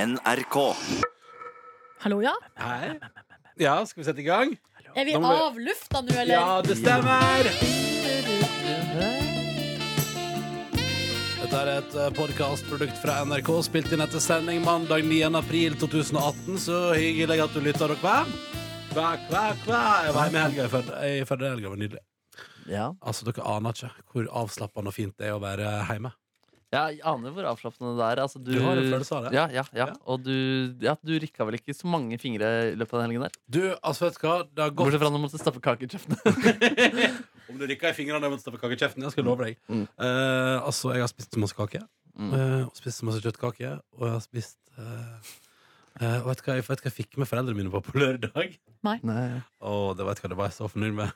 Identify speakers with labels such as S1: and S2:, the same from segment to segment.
S1: NRK.
S2: Hallo, ja?
S3: Hei. Ja, skal vi sette i gang?
S2: Er vi
S3: Da må vi-
S2: av lufta nå, eller?
S3: Ja, det stemmer! Dette er et podkastprodukt fra NRK, spilt inn etter sending mandag 9. april 2018. Så hyggelig at du lytter og kvæm. Kvæ, kvæ, kvæ. Jeg var hjemme i helga i Førde. I Førde i helga var nydelig.
S4: Ja.
S3: Altså, Dere aner ikke hvor avslappende og fint det er å være hjemme.
S4: Jeg aner hvor avslappende det er. Altså, du,
S3: Du har en følelse av det.
S4: Ja, ja, ja.
S3: Ja.
S4: Og du, ja, du rikka vel ikke så mange fingre i løpet av den helgen der?
S3: Du, altså, vet du hva? Det har gått
S4: Bortsett fra når du måtte stappe kake i kjeften.
S3: Om du rikker i fingrene mot stappekakekjeften, jeg skal love deg.
S4: Mm.
S3: Eh, altså, jeg har spist så masse kake.
S4: Mm.
S3: eh, og spist så masse kjøttkake. Og jeg har spist eh, eh, og vet, du hva, jeg- vet du hva jeg fikk med foreldrene mine på på lørdag?
S4: Nei.
S3: Å, det vet du hva, det var jeg så fornøyd med.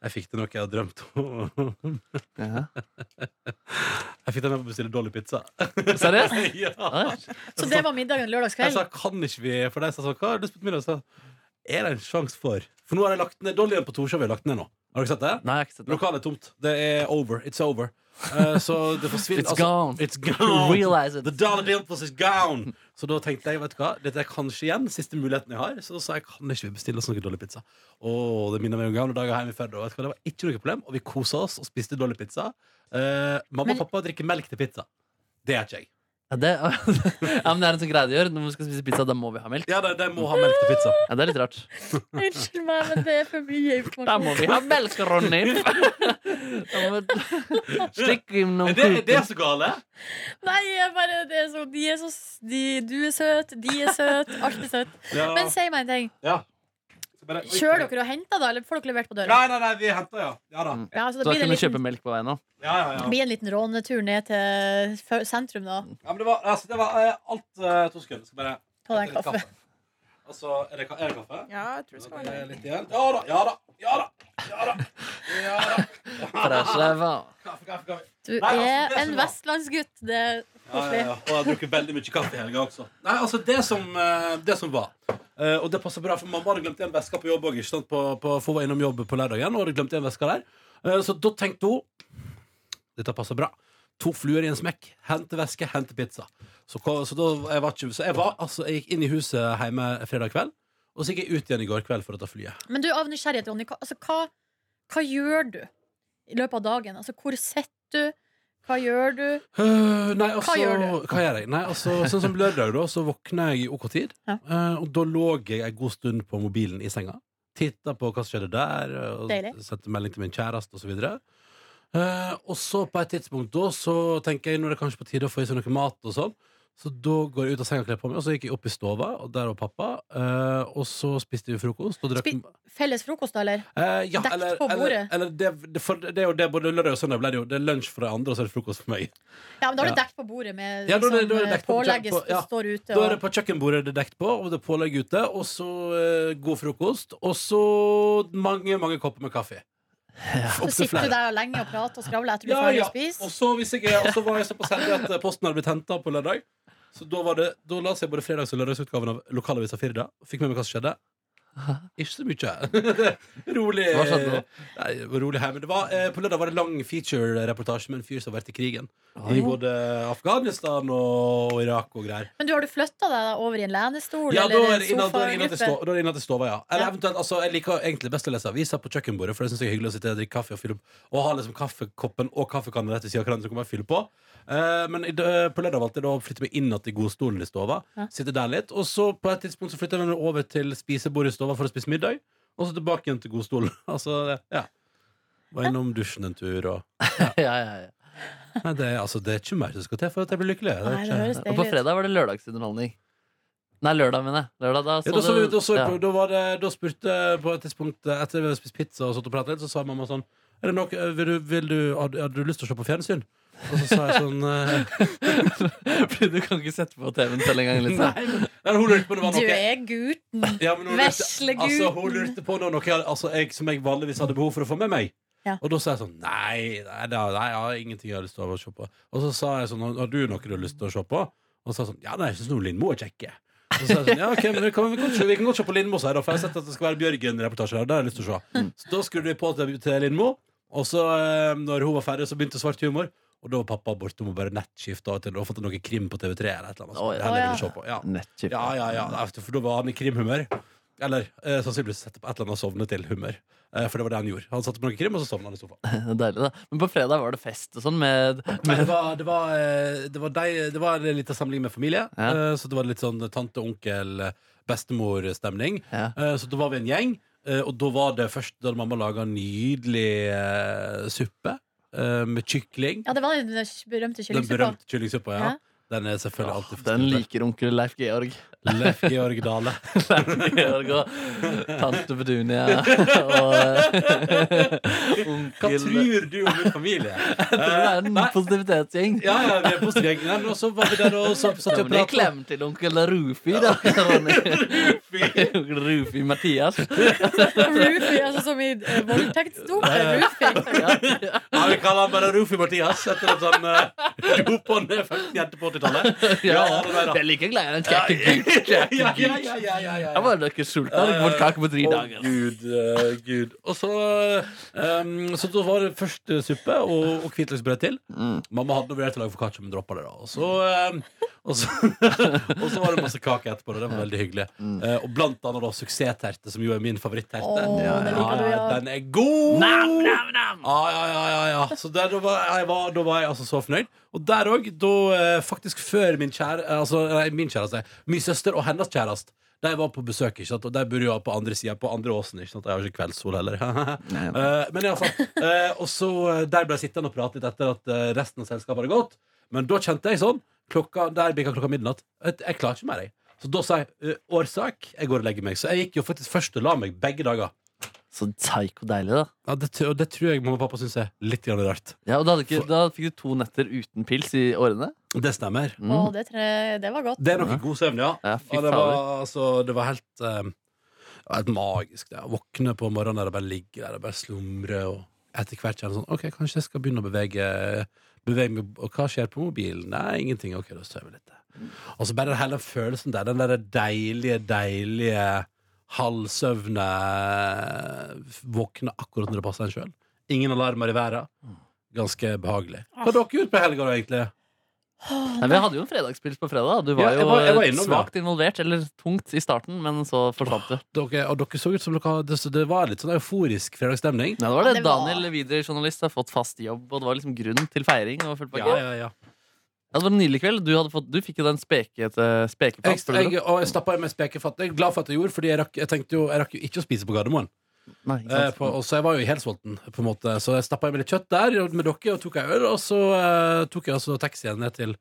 S3: Jeg fikk det noe jeg har drømt om.
S4: Ja.
S3: Jeg fikk det med på å bestille dårlig pizza.
S4: Seriøst?
S3: ja.
S4: Ja, ja.
S2: Så det var middagen
S3: Jeg
S2: lørdagskveld?
S3: sa, kan ikke vi For de sa sånn, hva har du spist middag? Jeg sa, Er det en sjanse for For nå har jeg lagt ned Dollyen på Torshov, har lagt ned nå. Har dere sett det?
S4: Nei, jeg har ikke sett det.
S3: Lokalet er tomt. Det er over. It's over. Eh, så det forsvinner altså,
S4: It's gone.
S3: It's gone.
S4: Realize it.
S3: The dollar dimples is gone. Så da tenkte jeg, vet du hva, dette er kanskje igjen siste muligheten jeg har. Så da sa jeg kan ikke vi bestille oss noe dårlig pizza. Åh, det minner meg om gamle dager hjemme i Førde. og vet du hva, Det var ikke noe problem, og vi kosa oss og spiste dårlig pizza. Eh, mamma
S2: Men-
S3: og pappa drikker melk til pizza. Det er ikke jeg.
S4: Ja, det, ja, men det er en sånn greie de gjør. Når vi skal spise pizza, da må vi ha melk.
S3: Ja, de, de må ha melk til pizza.
S4: Ja, det er litt rart.
S2: Unnskyld meg, men det er for mye informasjon.
S4: Da må vi ha melk, Ronny! Da må vi stikke innom
S3: Er det, er det
S4: kuken.
S3: så gale?
S2: Nei, jeg bare, det er så, de er så s- de, Du er søt, de er søt, alt er søt.
S3: Ja.
S2: Men si meg en ting.
S3: ja. Så bare- Oi,
S2: Kjører dere og henter, da? Eller får dere levert på døra?
S3: Nei, nei, nei, vi henter, ja. Ja da.
S2: Ja, så
S4: Så
S2: det
S4: da
S2: blir en
S4: kunne vi kjøpe
S2: liten,
S4: melk på veien òg.
S3: Ja, ja, ja.
S2: blir en liten rånetur ned til f- sentrum, da.
S3: Ja, men det var, altså, det var eh, alt eh, to sekunder. Skal bare
S2: Ta deg en
S3: litt
S2: kaffe.
S3: Altså, er det, ka- er det kaffe?
S5: Ja, jeg tror det skal
S3: Det
S5: være
S3: er
S5: det.
S3: litt igjen. Ja da, ja da, ja da! Ja da! Ja da. Kaffe, kaffe, kaffe.
S2: Du
S3: Nei, altså, det
S2: er
S3: som
S2: en
S3: var-
S2: vestlandsgutt. Det er
S3: Ja, ja, ja.
S2: koselig.
S3: Og jeg har drukket veldig mye kaffe i helga også. Nei, altså, det som, eh, det som var eh, Og det passer bra, for mamma hadde glemt en veske på jobb òg. På, på, for hun var innom jobb på lørdagen og hadde glemt en veske der. Eh, Så da tenkte hun Dette passer bra. To fluer i en smekk. Hente veske, hente pizza. Så, ko- så, da, jeg, var ikke, så jeg, var, altså, jeg gikk inn i huset hjemme fredag kveld, og så gikk jeg ut igjen i går kveld for å ta flyet.
S2: Men du, av nysgjerrighet, Ronny, hva, altså, hva, hva gjør du i løpet av dagen? Altså, hvor sitter du? Hva gjør du?
S3: Øh, nei, altså, hva
S2: gjør
S3: gjør
S2: du?
S3: jeg? Nei, altså, sånn som lørdag, da, så våkna jeg i OK tid.
S2: Ja.
S3: eh, og da lå jeg en god stund på mobilen i senga. Titta på hva som skjedde der, og
S2: Deilig.
S3: sendte melding til min kjæreste osv. Uh, og så på et tidspunkt da så tenker jeg nå er det kanskje på tide å få i seg noe mat. og sånn Så da går jeg ut av senga og kler på meg, og så gikk jeg opp i stova, og der var pappa. eh, og så spiste vi frokost. Og drakk
S2: Spi- Felles frokost, da, eller?
S3: Eh, ja,
S2: Dekt
S3: eller,
S2: på
S3: eller,
S2: bordet.
S3: eller det, det, for, det er jo det både lørdag og søndag ble det jo Det er lunsj for de andre, og så er det frokost for meg.
S2: Ja, men da har du
S3: Ja.
S2: dekt på bordet med
S3: Ja, da er
S2: liksom,
S3: det- da er det dekt på-
S2: pålegget
S3: på-
S2: som
S3: ja.
S2: står ute.
S3: Da er det
S2: og-
S3: på kjøkkenbordet det er dekt på, og det er pålegg ute, og så eh, god frokost, og så mange, mange kopper med kaffe.
S2: så sitter du der lenge og prater og skravler etter du er
S3: Ja,
S2: ferdig
S3: ja.
S2: å spise.
S3: Og så, hvis jeg, og så var jeg såpass heldig at eh, posten hadde blitt henta på lørdag. Så da, var det, da las jeg både fredags- og lørdagsutgaven av Lokalavisa Firda. Fikk med meg hva som skjedde. Ikke så mye. rolig. eh,
S4: Hva skjedde da?
S3: Nei, det var rolig her, men det var, eh, på lørdag var det lang feature-reportasje med en fyr som har vært i krigen. I både Afghanistan og Irak og greier.
S2: Men du, har du flytta deg da over i en lenestol
S3: Ja, da
S2: eller
S3: er det
S2: en
S3: innad da er det innad til
S2: sofagruppe?
S3: sto- da er det innad til stova, ja. Eller
S2: Ja.
S3: eventuelt, altså, jeg liker egentlig best å lese aviser på kjøkkenbordet, for det synes jeg er hyggelig å sitte og drikke kaffe og fylle opp. Og ha liksom kaffekoppen og kaffekannen rett ved siden av hverandre, så kan man fylle på. Eh, men i, dø- på lørdag valgte jeg da å flytte meg innad til godstolen i stova.
S2: Ja.
S3: Sitte der litt. Og så på et tidspunkt så flytter jeg meg over til spisebordet i stova for å spise middag. Og så tilbake igjen til godstolen. altså, det- ja. Var innom dusjen en tur og
S4: Ja, ja, ja.
S3: Nei, det, er- altså, det er ikke mer som skal til for at jeg blir lykkelig. Det er
S2: Nei, det
S3: ikke-
S2: høres
S4: Og på
S2: deilig ut.
S4: fredag var det lørdagsunderholdning. Nei, lørdag, mener jeg. Lørdag, da
S3: Ja, da, så, vi- da, så, vi
S4: ja.
S3: på- da, var det, da spurte jeg på et tidspunkt eh, etter vi hadde spist pizza og satt og pratet litt, så sa mamma sånn er det nok, eh, vil du, vil du, har, du- har du lyst til å se på fjernsyn? Og så sa jeg sånn eh,
S4: Fordi du kan ikke sette på TV-en selv engang. Liksom.
S3: Nei, men- nei, hun lurte på om det var
S2: Du
S3: noe
S2: er gutten.
S3: ja, men hun lurte,
S2: vesle
S3: altså,
S2: gutten.
S3: hun lurte på noe, noe jeg, altså, jeg, som jeg vanligvis hadde behov for å få med meg.
S2: Ja.
S3: Og da sa jeg sånn Nei, nei, det er- nei, jeg har ingenting jeg har lyst til å se på. Og så sa jeg sånn Har har du noe du har lyst til å se på? Og så sa jeg sånn Ja, nei, jeg syns Lindmo er kjekk. jeg." Og Så sa jeg sånn, ja, ok, men vi kan, vi kan, vi kan godt se på Lindmo, sa jeg da, for jeg har sett at det skal være Bjørgen-reportasje der. og Det har jeg
S2: Mm.
S3: lyst til å se. Så da skrudde vi på til, til Lindmo, og så, eh, når hun var ferdig, så begynte svart humor. Og da var pappa bortom og bare nettskifta til å ha fått noe krim på TV3. eller et eller annet.
S4: Å, ja.
S3: Det er
S2: Å,
S3: det
S2: ja.
S3: vi ser på. Ja.
S4: Nettchip.
S3: Ja, ja, ja, Nei, for da var han i krimhumør. Eller eh, sannsynligvis sette på et eller annet sovne til humør. Eh, for det var det han gjorde. Han satte på noe krim, og så sovna han i sofaen.
S4: Deilig, da. Men på fredag var det fest og sånn med,
S3: Nei, det
S4: med
S3: var, det var, eh, det var, deg, det var en liten samling med familie,
S4: Ja.
S3: eh, så det var litt sånn tante, onkel, bestemor-stemning.
S4: ja.
S3: Eh, Så da var vi en gjeng, eh, og da var det først da hadde mamma laga nydelig eh, suppe eh, med kykling.
S2: Ja, det var den berømte
S3: Den
S2: kyllingsuppa.
S3: berømte kyllingsuppa, ja.
S2: Ja.
S3: Den er selvfølgelig alltid for
S4: Den
S3: stor.
S4: liker onkel Leif Georg.
S3: Leif Georg Dale.
S4: Leif Georg og tante Bedunia og
S3: Hva
S4: onkel
S3: tror du om min familie?
S4: Det er en positivitetsgjeng.
S3: Ja, ja, vi er positive gjengen her, men så var vi der og så- satt
S4: Ja,
S3: og
S4: men det er
S3: pratet.
S4: klem til onkel Rufi, da. Ronny. Onkel Rufi Mathias.
S2: Rufy, altså som i eh, voldtektsdopet. Rufy.
S3: Ja, vi kaller han bare Rufi Mathias etter at han eh, dop og ned 15 jenter på 80-tallet. Ja, det der, da.
S4: Jeg liker glad i den kjekke gutt.
S3: Ja, ja, ja, ja, ja, ja.
S4: Jeg var dere sultne og fått kake på tre
S3: Å,
S4: dager.
S3: Gud, eh, Gud. Og så, eh, um, så da var det først eh, suppe og, og hvitløksbrød til.
S4: Mm.
S3: Mamma hadde vurdert å lage foccaccia, men droppa det. da Og så, eh, og, så og så var det masse kake etterpå. Og det var veldig hyggelig.
S4: Mm.
S3: Eh, og blant annet da suksessterte, som jo er min favoritterte.
S2: Åh, det
S4: Ja,
S3: Ja,
S2: liker du,
S3: ja,
S2: ja.
S3: den er god!
S4: Nam, nam, nam.
S3: Ja, ja, ja, ja, ja. Så der, da, var jeg, var, da var jeg altså så fornøyd. Og der òg, da eh, faktisk før min kjære altså, Nei, min kjæreste. Min søster og hennes kjæreste. De var på besøk, ikke sant? og de bor jo på andre sida, på andre åsen. Ikke sant? Jeg har ikke kveldssol heller.
S4: Nei.
S3: Eh, men iallfall. Uh, og så eh, der ble jeg sittende og prate litt etter at eh, resten av selskapet hadde gått. Men da kjente jeg sånn klokka, Der bikka klokka midnatt. Jeg, jeg klarer ikke mer, jeg. Så da sa jeg eh, årsak. Jeg går og legger meg. Så jeg gikk jo faktisk først og la meg begge dager.
S4: Så psyko deilig, da.
S3: Ja, det, tr- og det tror jeg mamma og pappa syns er litt grann rart.
S4: Ja, og da, hadde ikke, da fikk du to netter uten pils i årene.
S3: Det stemmer.
S4: Mm.
S2: Å, det, tre, det var godt.
S3: Det er nok
S4: Ja.
S3: en god søvn, ja.
S4: Ja, fy
S3: Og det
S4: fader.
S3: var, altså, det var helt eh, det var Helt magisk. Det. Å våkne på morgenen der og bare ligge der og bare slumre. Og etter hvert kjenne sånn OK, kanskje jeg skal begynne å bevege, bevege meg. Og hva skjer på mobilen? Nei, ingenting. OK, da sover jeg litt. Og så bare hele følelsen der. Den derre deilige, deilige halvsøvne Våkne akkurat når det passer en sjøl. Ingen alarmer i
S4: Mm.
S3: verden. Ganske behagelig. Hva har dere gjort på helga, da, egentlig?
S2: Åh,
S4: Nei, vi hadde jo en fredagspils på fredag. da. Du var
S3: Ja,
S4: jo
S3: jeg var- jeg var
S4: eh,
S3: innom, ja.
S4: svakt involvert, eller tungt, i starten, men så forsvant du.
S3: Dere, og dere så ut som dere det, det var litt sånn euforisk fredagsstemning.
S4: Ja, det var det.
S2: Det var-
S4: Daniel Wider, journalist, har fått fast jobb, og det var liksom grunn til feiring. Og full pakke.
S3: Ja, ja, ja.
S4: Ja, det var en nydelig kveld. Du, hadde fått, du fikk jo den spekete
S3: Jeg,
S4: spekeplass. føler du det?
S3: jeg, og jeg stappa i meg spekefatt. Jeg er glad for at jeg gjorde, Fordi jeg rakk, jeg tenkte jo, jeg rakk jo ikke å spise på Gardermoen.
S4: Nei, ikke
S3: Eh,
S4: sant?
S3: på, og så jeg var jo helt sulten, på en måte. Så jeg stappa i meg litt kjøtt der med dere og tok ei øl. Og så eh, tok jeg altså taxien ned til,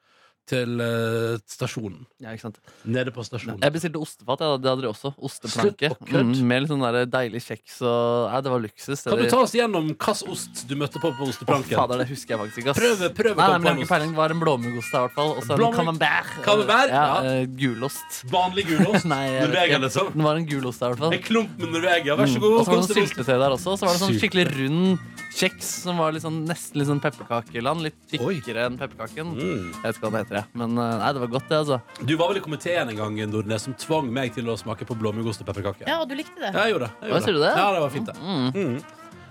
S3: til eh, stasjonen.
S4: Ja, ikke sant?
S3: Nede på stasjonen.
S4: Jeg bestilte ostefat. Ja, det hadde de også. Osteplanke.
S3: Slutt å kødde.
S4: med litt sånn der deilig kjeks og Nei, det var luksus.
S3: Kan du
S4: det-
S3: ta oss gjennom hvilken ost du møtte på på
S4: Å,
S3: osteplanken?
S4: Fader, det husker jeg faktisk ikke. ass.
S3: Prøve- prøve
S4: Nei, nei, men jeg har
S3: kampanost.
S4: ikke peiling. Det var en blåmuggost der, i hvert fall. Og så en
S3: Blåmugg-
S4: camembert.
S3: Camembert, ja.
S4: Ja, eh, Gulost.
S3: Vanlig gulost?
S4: Nei, jeg vet
S3: Norvegia,
S4: ikke.
S3: liksom?
S4: Den var en gulost der, i hvert fall.
S3: En klump med Norvegia. Vær så god.
S4: Og så var det
S3: kos
S4: noe
S3: deg.
S4: syltetøy der også. Og så var det sånn
S3: Sylte.
S4: skikkelig rund kjeks som var litt sånn, nesten litt sånn pepperkakeland. Litt
S3: Oi.
S4: tykkere enn pepperkaken.
S3: Mm.
S4: Jeg vet ikke hva det heter, jeg. Men eh, nei, det var godt, det, altså.
S3: Du var vel i komiteen en gang Nordnes, som tvang meg til å smake på blåmuggost og pepperkaker.
S2: Ja, og du likte det.
S3: Ja, jeg gjorde det. Jeg
S4: Hva
S3: gjorde
S4: sier du det?
S3: Ja, det var fint, det.
S4: Mm.
S3: Mm.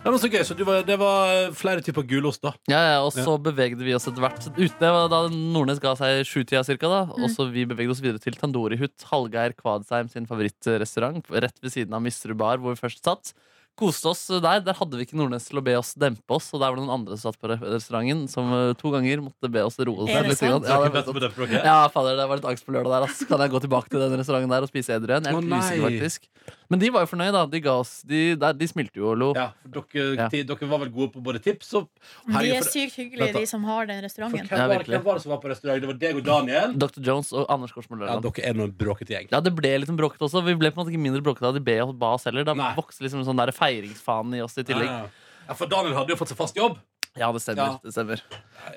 S3: Det var så gøy, så du var, det var eh, flere typer gulost, da.
S4: Ja, ja, og så bevegde vi oss etter hvert ut. Det var da Nordnes ga seg sjutida cirka, da. Og
S2: Mm.
S4: så vi bevegde oss videre til Tandoori Hut, Hallgeir Kvadsheim sin favorittrestaurant. Rett ved siden av Misterud Bar, hvor vi først satt. Koste oss der. Der hadde vi ikke Nordnes til å be oss dempe oss, og der var det noen andre som satt på re- restauranten, som eh, to ganger måtte be oss roe
S2: Er
S4: seg
S2: det
S4: litt.
S2: sant?
S3: Dere
S4: grann. Ja, det var
S3: vet om det, for dere.
S4: Ja, fader, det var litt angst på lørdag der. ass. Kan jeg gå tilbake til den restauranten der og spise edru igjen? Jeg er
S3: Å,
S4: litt usikker,
S3: nei.
S4: faktisk. Men de var jo fornøyd, da. De ga oss De, der, de smilte jo og lo.
S3: Ja, for dere,
S4: Ja.
S3: de- dere var vel gode på både tips og
S2: De
S3: Herregud,
S2: er
S3: for-
S2: sykt hyggelige,
S3: Vent da.
S2: de som har den
S3: for
S2: restauranten.
S3: hvem,
S4: Ja,
S3: var,
S4: virkelig.
S3: hvem var det som var på restaurant? Det var deg og Daniel?
S4: Dr. Jones og Anders Korsmo
S3: Ja,
S4: Løland.
S3: dere er nå en bråkete gjeng.
S4: Ja, det ble litt sånn bråkete også. Vi ble på en måte ikke mindre bråkete av de be oss ba oss heller. Da
S3: Nei.
S4: vokste liksom en sånn der feiringsfanen i oss i tillegg.
S3: Ja, Ah. Ja, for Daniel hadde jo fått seg fast jobb.
S4: Ja, det stemmer.
S3: Ja.
S4: Det stemmer.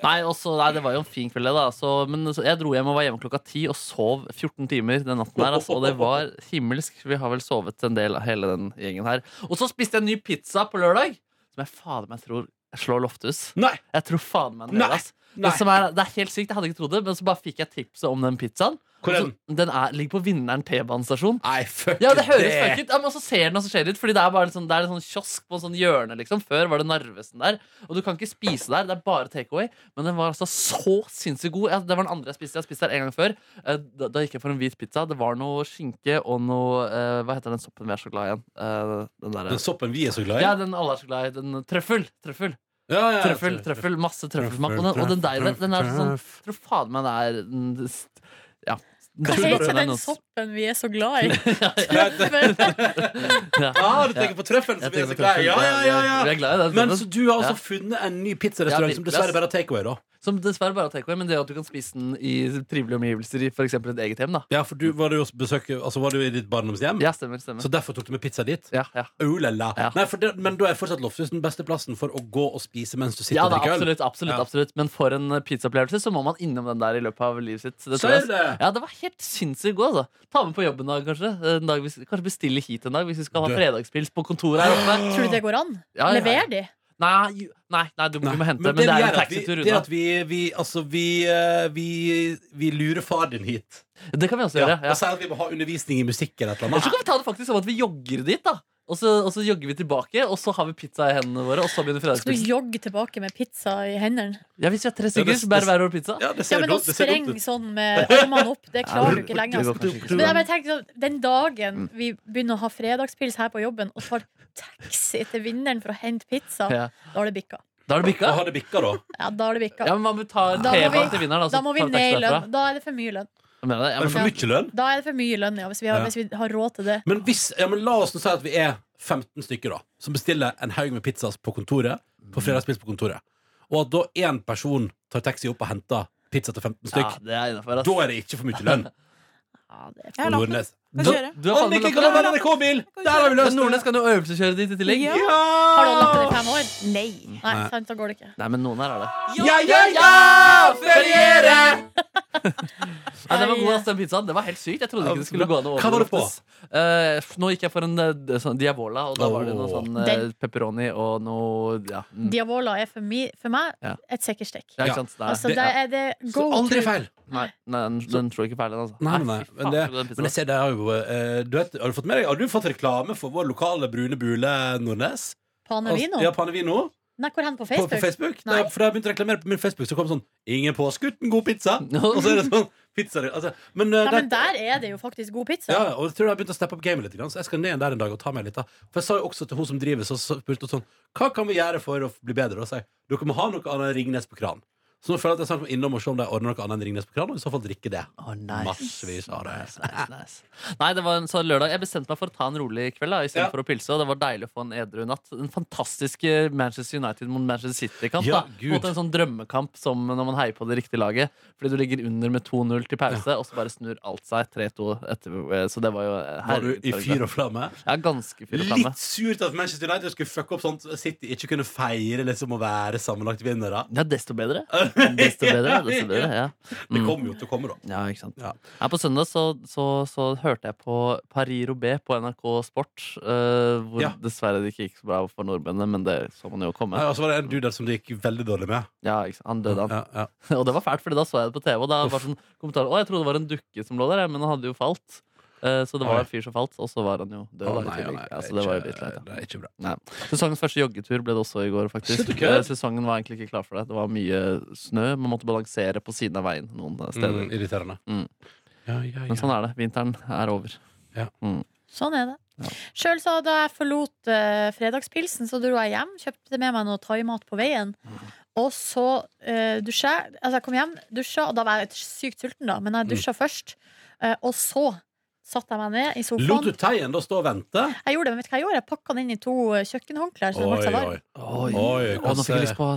S4: Nei, også, nei, det var jo en fin kveld, det, da. Så, men så jeg dro hjem og var hjemme klokka ti og sov 14 timer den natten her. Altså, og det var himmelsk. Vi har vel sovet en del av hele den gjengen her. Og så spiste jeg en ny pizza på lørdag, som jeg fader meg tror slår Lofthus.
S3: Nei!
S4: Jeg tror faen meg den
S3: Nei,
S4: gjør, ass.
S3: nei.
S4: Det, som er, det er helt sykt, jeg hadde ikke trodd det, men så bare fikk jeg tipset om den pizzaen.
S3: Hvor er den?
S4: Altså, den er, ligger på Vinneren T-banestasjon.
S3: Nei, fuck
S4: Ja, det høres fuck ut. Ja, men også ser den og så ser det ut, Fordi det er bare en sånn, det er en sånn kiosk på en sånn hjørne, liksom. Før var det Narvesen der. Og du kan ikke spise der. Det er bare takeaway. Men den var altså så sinnssykt god. Ja, det var den andre jeg spiste. Jeg har spist der en gang før. Eh, Da, da gikk jeg for en hvit pizza. Det var noe skinke og noe eh, Hva heter den soppen vi er så glad i igjen? Eh, den derre
S3: Den soppen vi er så glad i?
S4: ja, den alle er så glad i. Den trøffel. Trøffel.
S3: Ja, ja, ja.
S4: Trøffel, trøffel, masse trøffelsmak. Og den, og den der, den er sånn Tror faen meg det er den- Ja.
S2: Hva
S3: Tror du
S2: heter den
S4: Trøffelen,
S2: soppen vi er så glad i? Men,
S3: Nei,
S4: ja.
S3: Ah, du tenker på trøffelen som vi er så glad i? Ja, ja, ja, ja.
S4: Vi er glad i den.
S3: Men
S4: filmen.
S3: så du har altså
S4: Ja.
S3: funnet en ny
S4: Ja,
S3: pizzarestaurant
S4: virkelig,
S3: som dessverre
S4: ass.
S3: bare har takeaway, da?
S4: Som dessverre bare har takeaway, men det at du kan spise den i trivelige omgivelser i for eksempel et eget hjem. da
S3: Ja, for du var jo besøk, altså var du i ditt barndomshjem,
S4: Ja, stemmer. stemmer
S3: så derfor tok du med pizza dit?
S4: Ja, ja.
S3: Oh, la, la.
S4: Ja.
S3: Nei, for det, men da er fortsatt Lofthus den beste plassen for å gå og spise mens du sitter
S4: ja
S3: og
S4: da,
S3: drikker øl.
S4: absolutt, absolutt,
S3: Ja.
S4: absolutt. Men for en eh, pizzaopplevelse så må man innom den der i løpet av livet sitt. Det tror
S3: Sier
S4: jeg.
S3: det!
S4: Ja, det var helt sinnssykt god, altså. Ta med på jobben en dag, kanskje. En dag, hvis- kanskje bestille hit en dag hvis vi skal ha
S3: Du-
S4: fredagspils på kontoret her oppe.
S2: tror du det går an?
S4: Ja, ja.
S2: Lever de?
S4: Nei, ju- nei, nei du, du må hente, men,
S3: vi
S4: det er
S3: gjør
S4: en
S3: at vi-
S4: taxitur
S3: Det er
S4: unna.
S3: at vi, vi, altså, vi, eh, vi, vi lurer far din hit.
S4: Det kan vi også gjøre. ja
S3: Og sier at vi må ha undervisning i musikk eller et eller
S4: Eller så
S3: annet.
S4: kan vi ta det faktisk som at vi jogger dit, da. Og så, og så jogger vi tilbake, og så har vi pizza i hendene våre. Og så begynner
S2: Skal du
S4: fredagspilsen.
S2: jogge tilbake med pizza i hendene?
S4: Ja, hvis vi er tre
S3: Ja,
S4: stykker,
S3: det-
S4: så bærer hver vår pizza.
S3: Ja, det
S2: Ja,
S3: ser
S2: men å
S3: dumt- det ser dumt
S2: sprenge
S3: ut.
S2: sånn med armene opp, det klarer du ikke lenge.
S4: Det går
S2: Altså.
S4: kanskje ikke så
S2: Men
S4: bra.
S2: jeg bare tenkte sånn, Den dagen
S4: Mm.
S2: vi begynner å ha fredagspils her på jobben og tar taxi til vinneren for å hente pizza,
S4: Ja.
S2: da har det bikka.
S4: Da har du
S3: Da
S4: bikka.
S3: har det bikka, da.
S2: Ja, da har det bikka.
S4: Ja, men altså, man tar
S2: Da må
S4: T-banen
S2: vi-
S4: til vinneren, da.
S2: Da må vi ned i lønn. Da er det for mye lønn.
S3: Er det for mye lønn?
S2: Da er det for mye lønn, ja, hvis vi har,
S3: Ja.
S2: hvis vi har råd til det.
S3: Men, hvis, ja, men la oss nå si at vi er 15 stykker da som bestiller en haug med pizzas på kontoret. På fredagspils på kontoret Og at da én person tar taxi opp og henter pizza til 15
S4: Ja,
S3: stykk,
S4: det er innafor,
S3: da er det ikke for mye lønn.
S2: Ja, det er
S1: Jeg har lagt den.
S3: Nordnes.
S1: Kan
S4: Du,
S1: kjøre.
S4: du er faen meg
S3: Anniken,
S4: lagt
S3: kan
S4: det.
S3: du være NRK-bil? Der har vi
S4: Men
S3: løst
S4: Nordnes kan jo øvelseskjøre dit i tillegg.
S1: Ja.
S2: Har du lappen i fem år?
S1: Nei.
S2: Nei,
S3: Nei.
S2: sant, da går det ikke.
S4: Nei, men noen her er det.
S3: Ja, ja, ja! Feriere!
S4: Nei, det var god, ass, den pizzaen. Det var helt sykt. Jeg trodde ikke det skulle gå an å
S3: Hva var det på?
S4: overleve. Eh, nå gikk jeg for en eh, sånn diavola, og da var det noe
S3: Åh.
S4: sånn eh,
S2: Den-
S4: pepperoni og noe Ja, mm.
S2: Diavola er for, mi, for meg
S4: Ja.
S2: et sikkerstikk.
S4: ja
S3: Ja.
S4: ikke sant. Det er-
S2: Altså,
S3: det-
S2: det er det
S3: Så
S2: go to.
S3: aldri feil.
S4: Nei, nei den, den slo ikke feil, den. Altså.
S3: Nei, nei, nei.
S4: fy faen,
S3: Men, det,
S4: så god den pizzaen
S3: men jeg ser det er jo eh, du vet, Har du fått med deg Har du fått reklame for vår lokale brune bule Nordnes?
S2: Panevino?
S3: Ja, Panevino.
S2: Nei, hvor hen? På
S3: På,
S2: Facebook?
S3: på Facebook?
S2: Nei.
S3: Da, for da jeg begynte å reklamere på min Facebook, så kom det sånn 'Ingen påskutt, en god pizza'.
S4: No.
S3: Og så er det sånn pizza altså, Men, eh,
S2: Nei, men
S3: der,
S2: der er det jo faktisk god pizza.
S3: ja, og jeg tror jeg har begynt å steppe opp gamet litt. grann, Så jeg skal ned der en dag og ta meg litt av. For jeg sa jo også til hun som driver, så så spurte hun sånn 'Hva kan vi gjøre for å bli bedre?' Og så sa jeg 'Dere må ha noe annet enn Ringnes på kran'. Så nå føler jeg at jeg snart må innom og se om de ordner noe annet enn Ringnes på kran, og i så fall drikke det.
S4: Å, nice.
S3: Massevis av det.
S4: Nice, nice, nice. Nei, det var en sånn lørdag Jeg bestemte meg for å ta en rolig kveld da, i stedet
S3: Ja.
S4: for å pilse. Og det var deilig å få en edru natt. Den fantastiske Manchester United mot Manchester City-kamp.
S3: Ja,
S4: da. På en
S3: Gud.
S4: måte en sånn drømmekamp som når man heier på det riktige laget. Fordi du ligger under med 2-0 til pause, og så bare snur alt seg 3-2 etter. eh, Så det var jo eh,
S3: Var du i
S4: herregud,
S3: fyr og flamme?
S4: Ja, ganske fyr og flamme.
S3: Litt surt at Manchester United skulle fucke opp sånt City ikke kunne feire liksom å være sammenlagt vinnere.
S4: Ja, desto bedre. Desto bedre, desto bedre ja.
S3: Det kommer jo til å komme, da.
S4: Ja, ikke sant
S3: Ja.
S4: Her På søndag så, så, så hørte jeg på Paris Roubaix på NRK Sport. eh, hvor
S3: Ja.
S4: dessverre det ikke gikk så bra for nordmennene, men det så man jo komme.
S3: Ja, og så var det en dude der som det gikk veldig dårlig med.
S4: Ja, ikke sant? Han døde, han.
S3: Ja, ja.
S4: Og det var fælt, fordi da så jeg det på TV, og da var sånn kommentar Å, jeg trodde det var en dukke som lå der, jeg, men han hadde jo falt. Eh, Så det var
S3: Oi.
S4: en fyr som falt, og så var han jo død.
S3: Å,
S4: da, i
S3: nei,
S4: tillegg.
S3: nei,
S4: ja,
S3: det
S4: så
S3: er
S4: det var jo
S3: ikke-
S4: litt leit.
S3: Det er ikke bra.
S4: da. Nei. Sesongens første joggetur ble det også i går, faktisk.
S3: Slutt å kødde.
S4: Eh, Sesongen var egentlig ikke klar for det. Det var mye snø. Man måtte balansere på siden av veien noen eh, steder.
S3: Mm, irriterende.
S4: Mm.
S3: Ja, ja, ja.
S4: Men sånn er det. Vinteren er over.
S2: Sånn er det. Sjøl så da jeg forlot eh, fredagspilsen, så dro jeg hjem, kjøpte med meg noe thaimat på veien. Og så uh, dusja jeg. Altså, jeg kom hjem, dusja, og da var jeg sykt sulten, da, men jeg dusja først. eh, og så satte jeg meg ned i
S3: Lot
S2: sofaen.
S3: du teien da stå og vente?
S2: Jeg gjorde det, men vet du hva jeg gjorde? Jeg pakka den inn i to eh, kjøkkenhåndklær. Så den ble så varm.
S4: sånn Oi,
S3: Oi,
S4: Å, nå fikk jeg
S3: kanskje-
S4: lyst på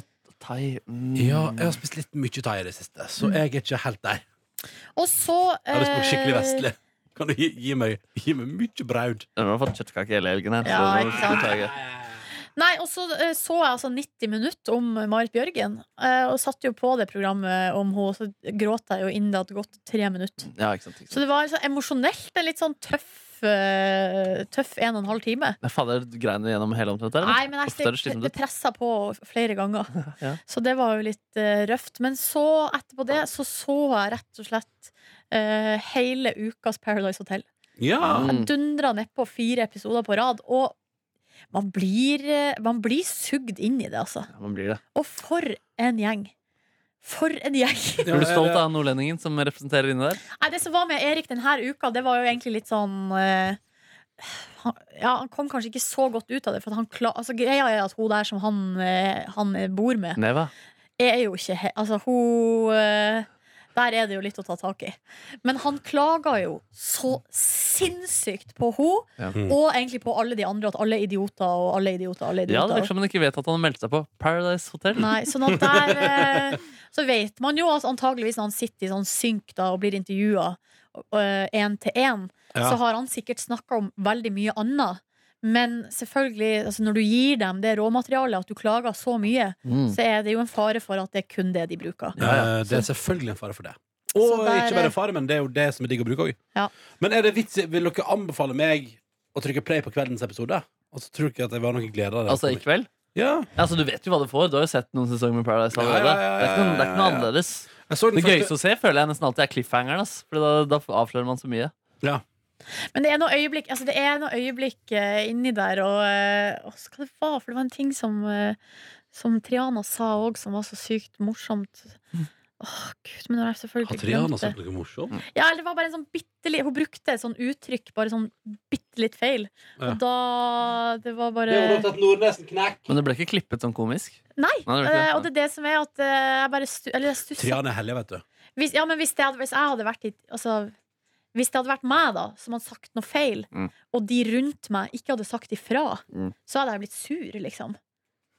S4: thai. Mm.
S3: Ja, jeg har spist litt mye thai i det siste, så jeg er ikke helt der.
S2: Og så
S3: Jeg har lyst på noe skikkelig
S2: eh,
S3: vestlig. Kan du gi, gi, meg, gi meg mye braud?
S4: Hun Sånn. har fått kjøttkake hele helgen. her
S2: Ja,
S4: så det var
S2: ikke sant.
S4: skikkelig thai.
S2: Nei, og så eh, så jeg altså 90 minutter om Marit Bjørgen, eh, og satt jo på det programmet om henne, og så gråt jeg jo innen det hadde gått tre minutter.
S4: Ja, ikke sant, ikke sant.
S2: Så det var altså emosjonelt en litt sånn tøff, eh, tøff en og en halv time.
S4: Ja, Fader, grein du gjennom hele omtrent der? eller?
S2: Nei, men jeg,
S4: Ofte er det
S2: det,
S4: slitsomt
S2: det
S4: ut.
S2: pressa på flere ganger.
S4: Ja.
S2: Så det var jo litt eh, røft. Men så, etterpå det, så så jeg rett og slett eh, hele ukas Paradise Hotel.
S3: Ja.
S2: Jeg
S4: Mm.
S2: dundra nedpå fire episoder på rad, og man blir, eh, man blir sugd inn i det, altså.
S4: Ja, man blir det.
S2: Og for en gjeng. For en gjeng!
S4: Blir du stolt av nordlendingen som representerer inne der?
S2: Nei, det som var med Erik denne uka, det var jo egentlig litt sånn eh, han, ja, han kom kanskje ikke så godt ut av det. For at han kla altså, greia er at hun der som han, eh, han bor med,
S4: Neva.
S2: er jo ikke he Altså, hun eh, Der er det jo litt å ta tak i. Men han klaga jo så sinnssykt på henne,
S4: Ja.
S2: og egentlig på alle de andre, at alle er idioter og alle er idioter. Alle er
S4: Ja, det
S2: idioter.
S4: virker som han ikke vet at han har meldt seg på Paradise Hotel.
S2: Nei, sånn at der eh, Så vet man jo at antageligvis når han sitter i sånn synk da, og blir intervjua én til én,
S3: Ja.
S2: eh, så har han sikkert snakka om veldig mye annet. Men selvfølgelig, altså når du gir dem det råmaterialet at du klager så mye,
S4: Mm.
S2: så er det jo en fare for at det er kun det de bruker.
S4: Ja, ja.
S3: Eh, Det er selvfølgelig en fare for det.
S2: Så
S3: Og
S2: der-
S3: ikke bare en fare, men det er jo det som er digg å bruke òg.
S2: Ja.
S3: Men er det vits i- vil dere anbefale meg å trykke play på kveldens episode? Og så tror ikke at jeg var noe glede av det.
S4: Altså, i kveld?
S3: ja.
S4: Altså, du vet jo hva du får. Du har jo sett noen sesonger med Paradise
S3: Ja, ja,
S4: allerede.
S3: ja, ja,
S4: Det er ikke noe, det er ikke
S3: ja,
S4: noe
S3: ja.
S4: annerledes.
S3: Jeg så den
S4: Det
S3: første
S4: gøyeste å se føler jeg nesten alltid er cliffhangeren. Ass. For da, da avslører man så mye.
S3: ja.
S2: Men det er noe øyeblikk, altså det er noe øyeblikk eh, inni der, og eh, og så hva det var For det var en ting som, eh, som Triana sa òg, som var så sykt morsomt. Åh, gud, men nå har jeg
S3: Har
S2: selvfølgelig
S3: Triana
S2: glemt det.
S3: sagt noe morsomt?
S2: Ja, eller det var bare en sånn bitte li- Hun brukte et sånn uttrykk, bare sånn bitte litt feil.
S3: Ja.
S2: Og da Det var bare
S3: Det er jo godt at Nordnesen knekk.
S4: Men det ble ikke klippet sånn komisk.
S2: Nei!
S4: Nei, det var ikke
S2: eh,
S4: det.
S2: og det er det som er at eh, jeg bare stu, Eller jeg stussa
S3: Triana er hellig, vet du.
S2: hvis, Ja, men hvis, det hadde, hvis jeg hadde vært i Altså hvis det hadde vært meg da som hadde sagt noe feil,
S4: Mm.
S2: og de rundt meg ikke hadde sagt ifra,
S4: Mm.
S2: så hadde jeg blitt sur, liksom.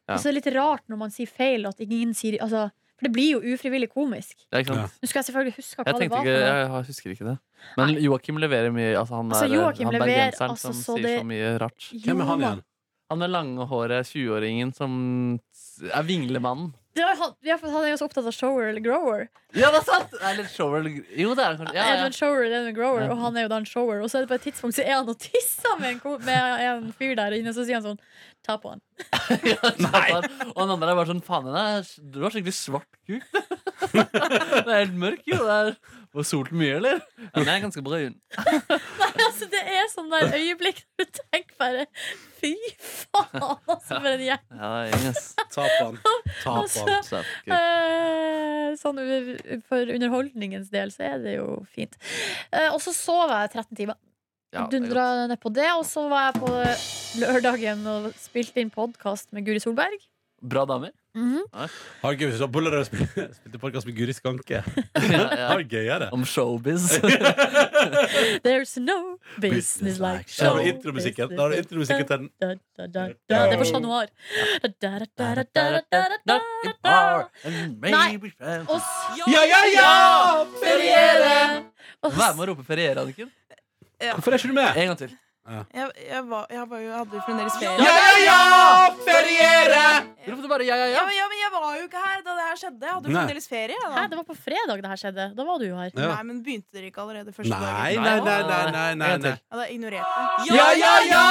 S4: Ja.
S2: Og så er det litt rart når man sier feil, at ingen sier altså, For det blir jo ufrivillig komisk.
S4: Ja, ikke sant?
S2: Nå skal jeg selvfølgelig huske hva
S4: Jeg,
S2: det
S4: tenkte
S2: var. for
S4: ikke,
S2: noe.
S4: jeg, jeg husker ikke det. Men Joakim leverer mye. Altså, han
S2: Altså,
S4: er,
S2: Joakim
S4: han
S2: leverer,
S4: bergenseren
S2: altså,
S4: som
S2: så
S4: sier
S2: det-
S4: så mye rart.
S3: Hvem er han
S2: Jo,
S3: igjen?
S4: Han med lange håret, 20-åringen som er vinglemannen.
S2: Det var, han, ja, for han er jo så opptatt av shower eller grower.
S4: Ja, det er sant! Eller shower Jo, det er han kanskje. Ja, ja.
S2: Edmund shower eller Edmund grower,
S4: Ja.
S2: og han er jo da en shower. Og så er det på et tidspunkt så er han og tisser med en, ko- med en fyr der inne, og så sier han sånn Ta på han.
S4: Ja, sant. Og den andre er bare sånn Faen, den er- du har skikkelig svart kuk. Den er helt mørk, jo. Det er Var solen mye, eller? Ja, den er ganske brun.
S2: Altså, det er sånn der øyeblikk når du tenker bare Fy faen, altså, for en gjeng.
S4: Ja, yes.
S3: Ta på han. Ta på han.
S2: Altså,
S4: Svart kuk.
S2: eh, sånn u- for underholdningens del så er det jo fint. Eh, og så sov jeg 13 timer.
S4: Ja, det er
S2: Dundra
S4: godt.
S2: ned på det. Og så var jeg på lørdagen og spilte inn podkast med Guri Solberg.
S4: Bra damer.
S2: Mhm.
S3: Har gøy hvis du har boller og spil- spilte podkast med Guri Skanke.
S4: Ja,
S3: Har
S4: ja.
S3: gøyere.
S4: Om showbiz.
S2: There's no business like
S3: Da
S2: show
S3: har du intromusikken. Da har du intromusikken til den.
S2: Da, da, da, da. Det er for Chat Noir. Da, da, da, da, da, da, da, da, da, da. Nei. Og så
S3: Ja, ja, ja!
S2: feriere! Og
S4: Vær med å rope feriere, Anniken.
S3: Hvorfor er ikke du med?
S4: En gang til.
S1: Jeg, jeg, var, jeg, var jo, jeg hadde jo fremdeles
S3: Ja,
S1: ferie.
S3: ja, ja! Feriere!
S4: Rop det bare ja, ja,
S1: Ja,
S4: ja.
S1: men, ja, men jeg var jo ikke her da det her skjedde. Jeg hadde jo
S3: Nei.
S1: fremdeles ferie. jeg,
S2: Hæ,
S1: Da.
S2: det var på fredag det her skjedde. Da var du jo her.
S3: Ja.
S1: Nei, men begynte dere ikke allerede første
S3: Nei,
S1: dagen?
S3: nei, nei, nei, nei, nei, nei.
S1: Ja, da ignorerte jeg.
S3: Ja, ja, ja!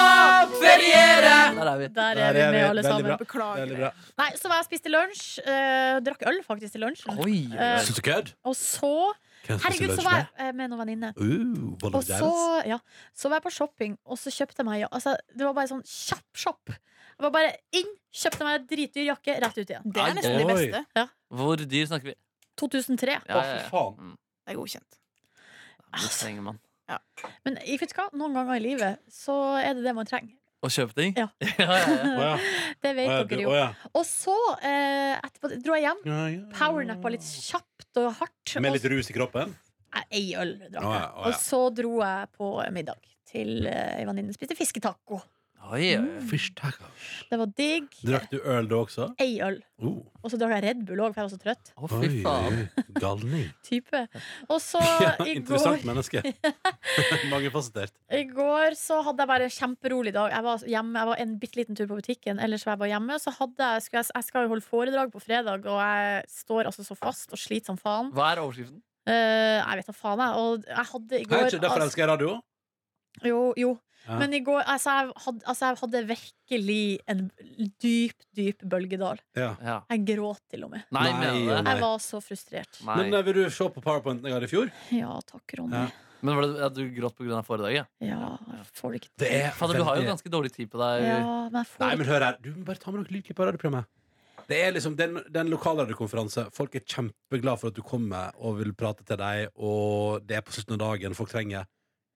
S3: Feriere!
S4: Der er vi.
S2: Der
S3: Der
S2: er vi
S3: er vi.
S2: med, alle
S3: Veldig
S2: sammen.
S3: bra.
S1: Beklager.
S3: Veldig bra.
S2: Nei, Så var jeg og spiste lunsj. eh, drakk øl, faktisk, til lunsjen.
S4: Oi.
S2: Eh,
S3: Syns du kødd?
S2: Og så Herregud, så var jeg eh, med noen venninne.
S3: Uh, Bolle
S2: Og så, ja, så var jeg på shopping, og så kjøpte jeg meg ja, altså, Det var bare sånn kjapp shop. Jeg var bare inn, kjøpte meg en dritdyr jakke, rett ut igjen.
S1: Det er nesten det
S3: Oi.
S1: beste.
S4: Hvor dyr snakker vi?
S2: 2003.
S4: Ja, ja, ja.
S3: faen.
S4: Mm.
S1: Det er godkjent.
S4: Det trenger man.
S2: Men jeg vet ikke hva, noen ganger i livet så er det det man trenger.
S4: Å kjøpe ting?
S2: Ja.
S4: ja, ja, ja.
S3: Å ja.
S2: Det vet
S3: Å ja, du-
S2: dere jo.
S3: å ja.
S2: Og så eh, etterpå dro jeg hjem,
S3: Ja, ja, ja.
S2: powernappa litt kjapt og hardt.
S3: Med
S2: og
S3: litt rus i kroppen?
S2: Nei, Ei øl drakk
S3: Å ja,
S2: jeg.
S3: å ja.
S2: Og så dro jeg på middag til eh, ei venninne. Spiste fisketaco.
S4: Oi, oi.
S3: Fish tacos.
S2: Det var digg.
S3: Drakk du øl da også?
S2: Ei øl.
S3: Oh.
S2: Og så drakk jeg Red Bull òg, for jeg var så trøtt.
S4: Å,
S3: Oi,
S4: fy faen.
S3: oi, galning.
S2: Type. Og så
S3: Ja,
S2: i går
S3: interessant menneske. Mangefasettert.
S2: I går så hadde jeg bare en kjemperolig dag. Jeg var hjemme, jeg var en bitte liten tur på butikken. Ellers var jeg bare hjemme. Så hadde jeg, skulle jeg, jeg skal jo holde foredrag på fredag, og jeg står altså så fast og sliter som faen.
S4: Hva er overskriften?
S2: Eh, jeg vet da faen, jeg. Og jeg hadde i
S3: Hei,
S2: går
S3: ikke derfor elsker jeg radio?
S2: Jo, jo.
S3: Ja.
S2: Men i går altså jeg, hadde, altså, jeg hadde virkelig en dyp, dyp bølgedal.
S3: Ja.
S4: Ja.
S2: Jeg gråt til og med.
S4: Nei,
S3: Nei,
S4: mener du det?
S3: nei.
S2: Jeg var så frustrert.
S4: Nei.
S3: Men eh, vil du se på powerpointen jeg hadde i fjor?
S2: Ja takk, Ronny.
S3: Ja.
S4: Men var det at du gråt pga. foredraget?
S2: Ja, får det ikke
S3: Det er
S4: Fader, du har jo
S3: veldig-
S4: ganske dårlig tid på deg.
S2: Ja, men jeg får
S3: Nei,
S2: det
S3: men hør her. Du må bare ta med noe lydklipp av radioprogrammet. Det er liksom den, den lokalradiokonferanse. Folk er kjempeglad for at du kommer og vil prate til deg, og det er på slutten av dagen folk trenger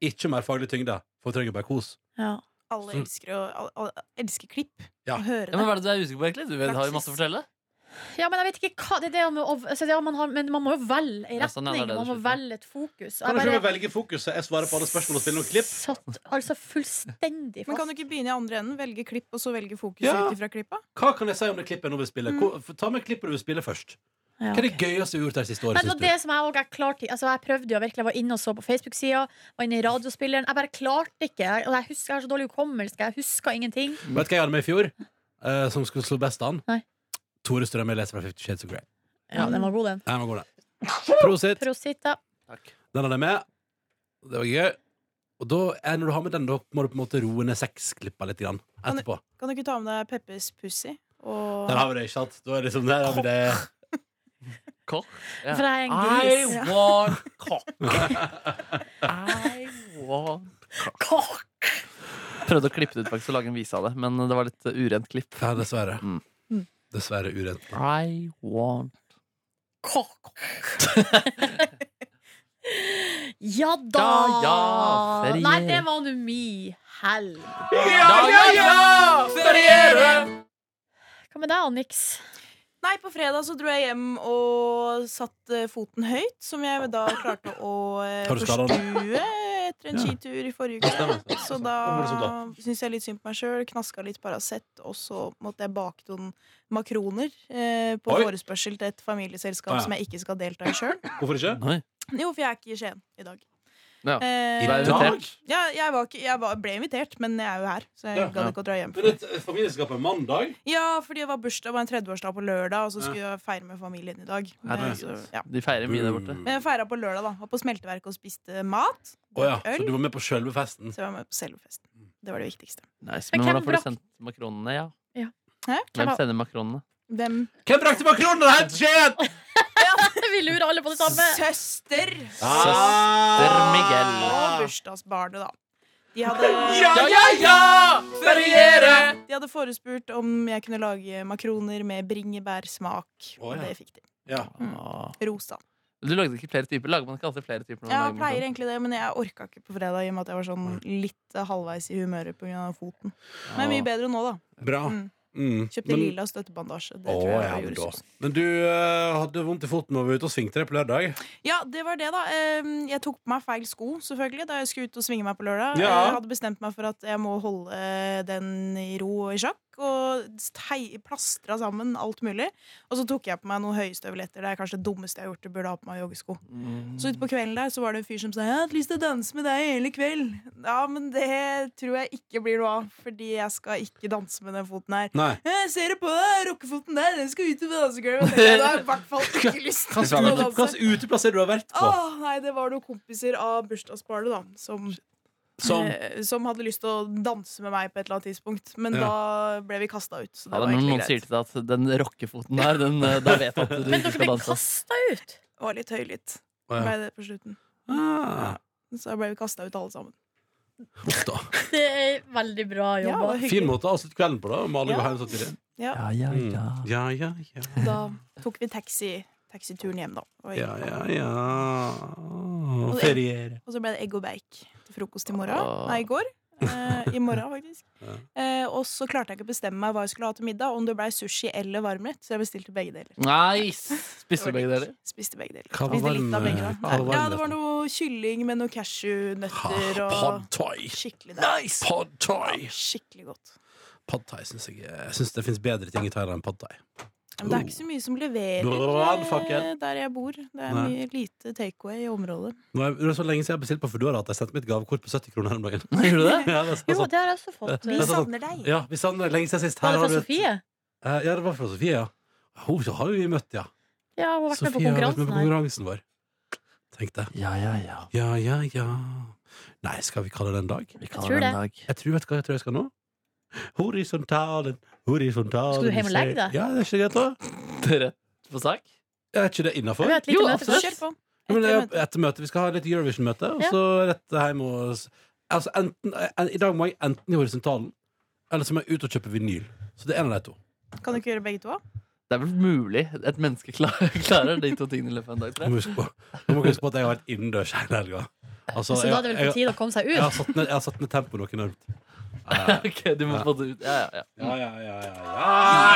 S3: ikke mer faglig tyngde. Folk trenger bare kos.
S2: ikke. Ja.
S1: Alle elsker, å, alle, alle elsker klipp.
S3: Ja.
S1: Å høre
S4: Ja, men
S1: det.
S4: Hva er det du er usikker på, egentlig? Du vet, har jo masse å fortelle.
S2: Ja, men jeg vet ikke hva det er det om, å- altså, det er om man har, Men man må jo velge en
S4: Ja, sånn, ja, det er
S2: retning.
S4: det du
S2: Man må
S4: sier.
S2: velge et fokus.
S3: Kan du ikke velge fokuset? Jeg svarer på alle spørsmål og spiller noen klipp.
S2: satt altså fullstendig fast.
S1: Men kan du ikke begynne i andre enden? Velge klipp, og så velge fokus
S3: Ja.
S1: ut ifra klippa?
S3: Hva kan jeg si om det klippet jeg nå vil spille? Hvor- Ta med klippet du vil spille først.
S2: Mm. ja,
S3: Hva er
S2: ok.
S3: det gøyeste du har gjort det siste
S2: Men
S3: året?
S2: det var
S3: synes du?
S2: det som jeg også er klart i. Altså, jeg prøvde jo virkelig. Jeg var inne og så på Facebook-sida, var inne i radiospilleren. Jeg bare klarte ikke. Jeg, og jeg, husker, jeg har så dårlig hukommelse. Jeg husker ingenting.
S3: Vet du hva jeg hadde med i fjor? eh, som skulle slå best an?
S2: Nei.
S3: Tore Strømme leser fra Fifty Shades of Grey.
S2: Ja, den var god, den.
S3: Her må gå den. Prosit.
S2: Prosit, da.
S4: Takk.
S3: Den hadde jeg med. Det var gøy. Og da, eh, når du har med den, da må du på en måte roe ned sexklippa litt grann etterpå.
S1: Kan du ikke ta med deg Peppers Pussy? Og
S3: Der har vi det, ikke sant? Da er det liksom, der har vi det.
S4: Kokk. Ja.
S2: For jeg er
S4: I
S2: en gris.
S4: want cock. I want
S2: Kokk.
S4: Prøvde å klippe det ut, faktisk, og lage en vise av det, men det var litt uh, urent klipp.
S3: Ja, dessverre.
S4: Mm.
S3: Dessverre urent.
S4: I want
S2: Kokk. ja da!
S4: Ja, ja, ferie.
S2: Nei, det var nå mi helg.
S4: Ja, ja, ja! Feriere!
S2: Hva med deg, Onyx?
S1: Nei, på fredag så dro jeg hjem og satt eh, foten høyt, som jeg da klarte å eh,
S3: Har du skadet den?
S1: forstue etter en
S3: Ja.
S1: skitur i forrige uke.
S3: Stemmer. Sånn.
S1: Så
S3: Hvor morsomt
S1: da
S3: da.
S1: syns jeg litt synd på meg sjøl. Knaska litt Paracet, og så måtte jeg bake noen makroner eh, på
S3: Oi.
S1: forespørsel til et familieselskap
S3: Ah, ja.
S1: som jeg ikke skal delta i sjøl.
S3: Hvorfor ikke?
S4: Oi.
S1: Jo, for jeg er ikke i Skien i dag.
S4: Ja.
S1: Eh,
S4: Du er invitert.
S1: ja, jeg, var ikke, jeg var, ble invitert, men jeg er jo her, så jeg
S3: Ja.
S1: gadd ikke å dra hjem.
S3: Men et et familieskap er mandag.
S1: Ja, fordi det var bursdag, det var en 30-årsdag på lørdag, og så skulle jeg feire med familien i dag. Men,
S4: Herregud.
S1: så, ja.
S4: De feirer mye der borte.
S3: Mm.
S1: men jeg feira på lørdag, da. Var på smelteverket og spiste mat.
S3: Å ja,
S1: Øl.
S3: så du Mm. var med på sjølve festen.
S1: Så jeg var med på selve festen. Det var det viktigste.
S4: Nice.
S2: Men hvem
S4: Men hvordan får
S2: brakk-
S4: du sendt makronene? Ja.
S1: Hæ?
S4: Hvem sender makronene?
S1: Hvem?
S3: Hvem brakte makroner her til Skien?
S2: Vi lurer alle på det samme.
S1: Søster!
S3: Ah.
S4: Søster Miguel.
S1: Og bursdagsbarnet, da. De hadde,
S4: ja, ja! Feriere!
S1: de hadde forespurt om jeg kunne lage makroner med bringebærsmak, og
S3: Å, ja.
S1: det fikk de.
S3: Ja.
S1: Rosa.
S4: Ah. Du lagde ikke flere typer? Lager man ikke alltid flere typer? når man
S1: Jeg
S4: lager
S1: pleier
S4: makroner?
S1: egentlig det, men jeg orka ikke på fredag i og med at jeg var sånn litt halvveis i humøret pga. foten. Men mye bedre nå, da.
S3: Bra.
S1: Mm.
S3: Mm.
S1: Kjøpte
S3: Men-
S1: lilla støttebandasje. Det
S3: Å,
S1: tror jeg
S3: ja,
S1: var
S3: men,
S1: julesusen.
S3: da. men du eh, hadde vondt i foten og var ute og svingte deg på lørdag.
S1: Ja, det var det, da. Ehm, Jeg tok på meg feil sko selvfølgelig da jeg skulle ut og svinge meg på lørdag. Eh,
S3: Ja.
S1: Jeg hadde bestemt meg for at jeg må holde eh, den i ro og i sjakk. Og tei- plastra sammen alt mulig. Og så tok jeg på meg noen høyestøvletter. Det er kanskje det dummeste jeg har gjort. Jeg burde ha på meg joggesko.
S3: Mm.
S1: Så utpå kvelden der så var det en fyr som sa 'Jeg har hatt lyst til å danse med deg hele kveld'. Ja, men det tror jeg ikke blir noe av, fordi jeg skal ikke danse med den foten her.
S3: Nei.
S1: Jeg ser det på deg, rockefoten der, den skal ut på dansegulvet. Jeg har jeg i hvert fall ikke lyst til å danse.
S3: Hvilken uteplass er det du har vært på?
S1: Åh, nei, det var noen kompiser av bursdagsbarnet da som,
S3: Som
S1: eh, som hadde lyst til å danse med meg på et eller annet tidspunkt. Men
S3: Ja.
S1: da ble vi kasta ut. Så det
S4: Ja,
S1: var
S4: men
S1: egentlig
S4: noen sier
S1: greit.
S4: til deg at den rockefoten der, den, eh, da vet du at du
S2: Men
S4: ikke
S2: dere ble
S4: skal danse.
S2: kasta ut.
S1: Det var litt høylytt.
S3: Å, ja.
S1: Ble det på slutten.
S3: eh, ah,
S1: Så da ble vi kasta ut alle sammen.
S3: uff da.
S2: Det er veldig bra
S1: Ja, det
S2: jobba.
S1: var
S3: Fin
S1: hyggelig.
S3: måte å avslutte kvelden på, da. Om alle
S1: Ja.
S3: går hjem samtidig.
S1: Ja,
S4: Ja, ja,
S3: Mm.
S4: ja.
S3: Ja, ja, ja.
S1: da tok vi taxi, taxituren hjem, da. Og,
S3: ja, ja, ja. Feriere.
S1: og så ble det egg og bake til frokost i morgen.
S4: Åh.
S1: Nei, i går. eh, i morgen, faktisk.
S3: Ja.
S1: Eh, og så klarte jeg ikke å bestemme meg hva jeg skulle ha til middag, om det blei sushi eller varmrett, så jeg bestilte begge deler.
S4: Nice! Spiste du begge deler?
S1: Spiste begge deler.
S3: Hva var
S1: Spiste litt
S3: varm-
S1: av begge, da.
S3: hva var
S1: ja, det var
S3: varmretten?
S1: noe kylling med noen
S3: Ah,
S1: cashewnøtter
S3: Pod
S1: og
S3: thai.
S1: Skikkelig deilig.
S3: Pod thai.
S1: Skikkelig godt.
S3: Pad thai syns jeg Jeg synes det fins bedre ting i Thailand enn pad thai.
S1: Men det er ikke så mye som leverer
S3: Brannfakker.
S1: eh, der jeg bor. Det er
S3: Nei.
S1: mye lite takeaway i området.
S3: Nå er det er så lenge siden jeg har bestilt på Foodora at jeg sendte mitt gavekort på 70 kroner om dagen.
S4: Gjorde du det?
S3: Ja, det er sånn-
S2: Jo, det har jeg også fått.
S1: Vi
S3: er sant.
S1: savner deg.
S3: ja, vi sender lenge siden sist.
S2: Var det fra
S3: har du et-
S2: Sofie?
S3: Eh, Ja, det var fra Sofie, ja. Hun har jo vi møtt, ja.
S2: Ja, hun har vært med på
S3: Sofie har vært med
S2: konkurransen
S3: på
S2: her.
S3: konkurransen vår. Tenk det.
S4: Ja, ja, ja.
S3: Ja, ja, ja. Nei, skal vi kalle det en dag?
S4: Vi
S2: tror
S4: kaller det en
S2: det.
S4: dag.
S3: Jeg tror, vet du hva jeg tror jeg skal nå? Horisontalen, horisontalen
S2: Skal du hjem og legge deg?
S3: Ja, det er ikke greit, da.
S4: Rett på sak?
S3: Er ikke det innafor?
S2: Vi har et
S4: Jo,
S2: lite møte
S4: absolutt.
S2: først.
S1: Kjør på.
S3: Ja, men det
S1: Etter
S3: er etter møtet. Vi skal ha litt Eurovision-møte, og
S2: Ja.
S3: så rett hjem og s- altså, enten, en, I dag må jeg enten i horisontalen, eller så må jeg ut og kjøpe vinyl. Så det er en av de to.
S1: møtet. Kan du ikke gjøre begge to?
S4: Det er vel mulig et menneske klarer, klarer de to tingene i løpet av en dag.
S3: Nå
S4: Tror jeg.
S3: må huske på, nå må dere huske på at jeg har vært innendørs hele helga. Altså,
S2: Så da er det vel på
S3: jeg, jeg,
S2: tide å komme seg
S3: jeg, har
S2: ut.
S3: satt ned, jeg har satt ned tempoet noe enormt. Ja,
S4: Ok, du må få det ut. Ja, ja, ja.
S3: ja, ja, ja, ja,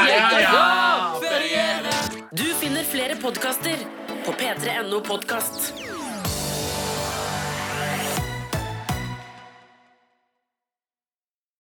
S3: ja, ja, ja.
S5: Du finner flere podkaster på p3.no podkast.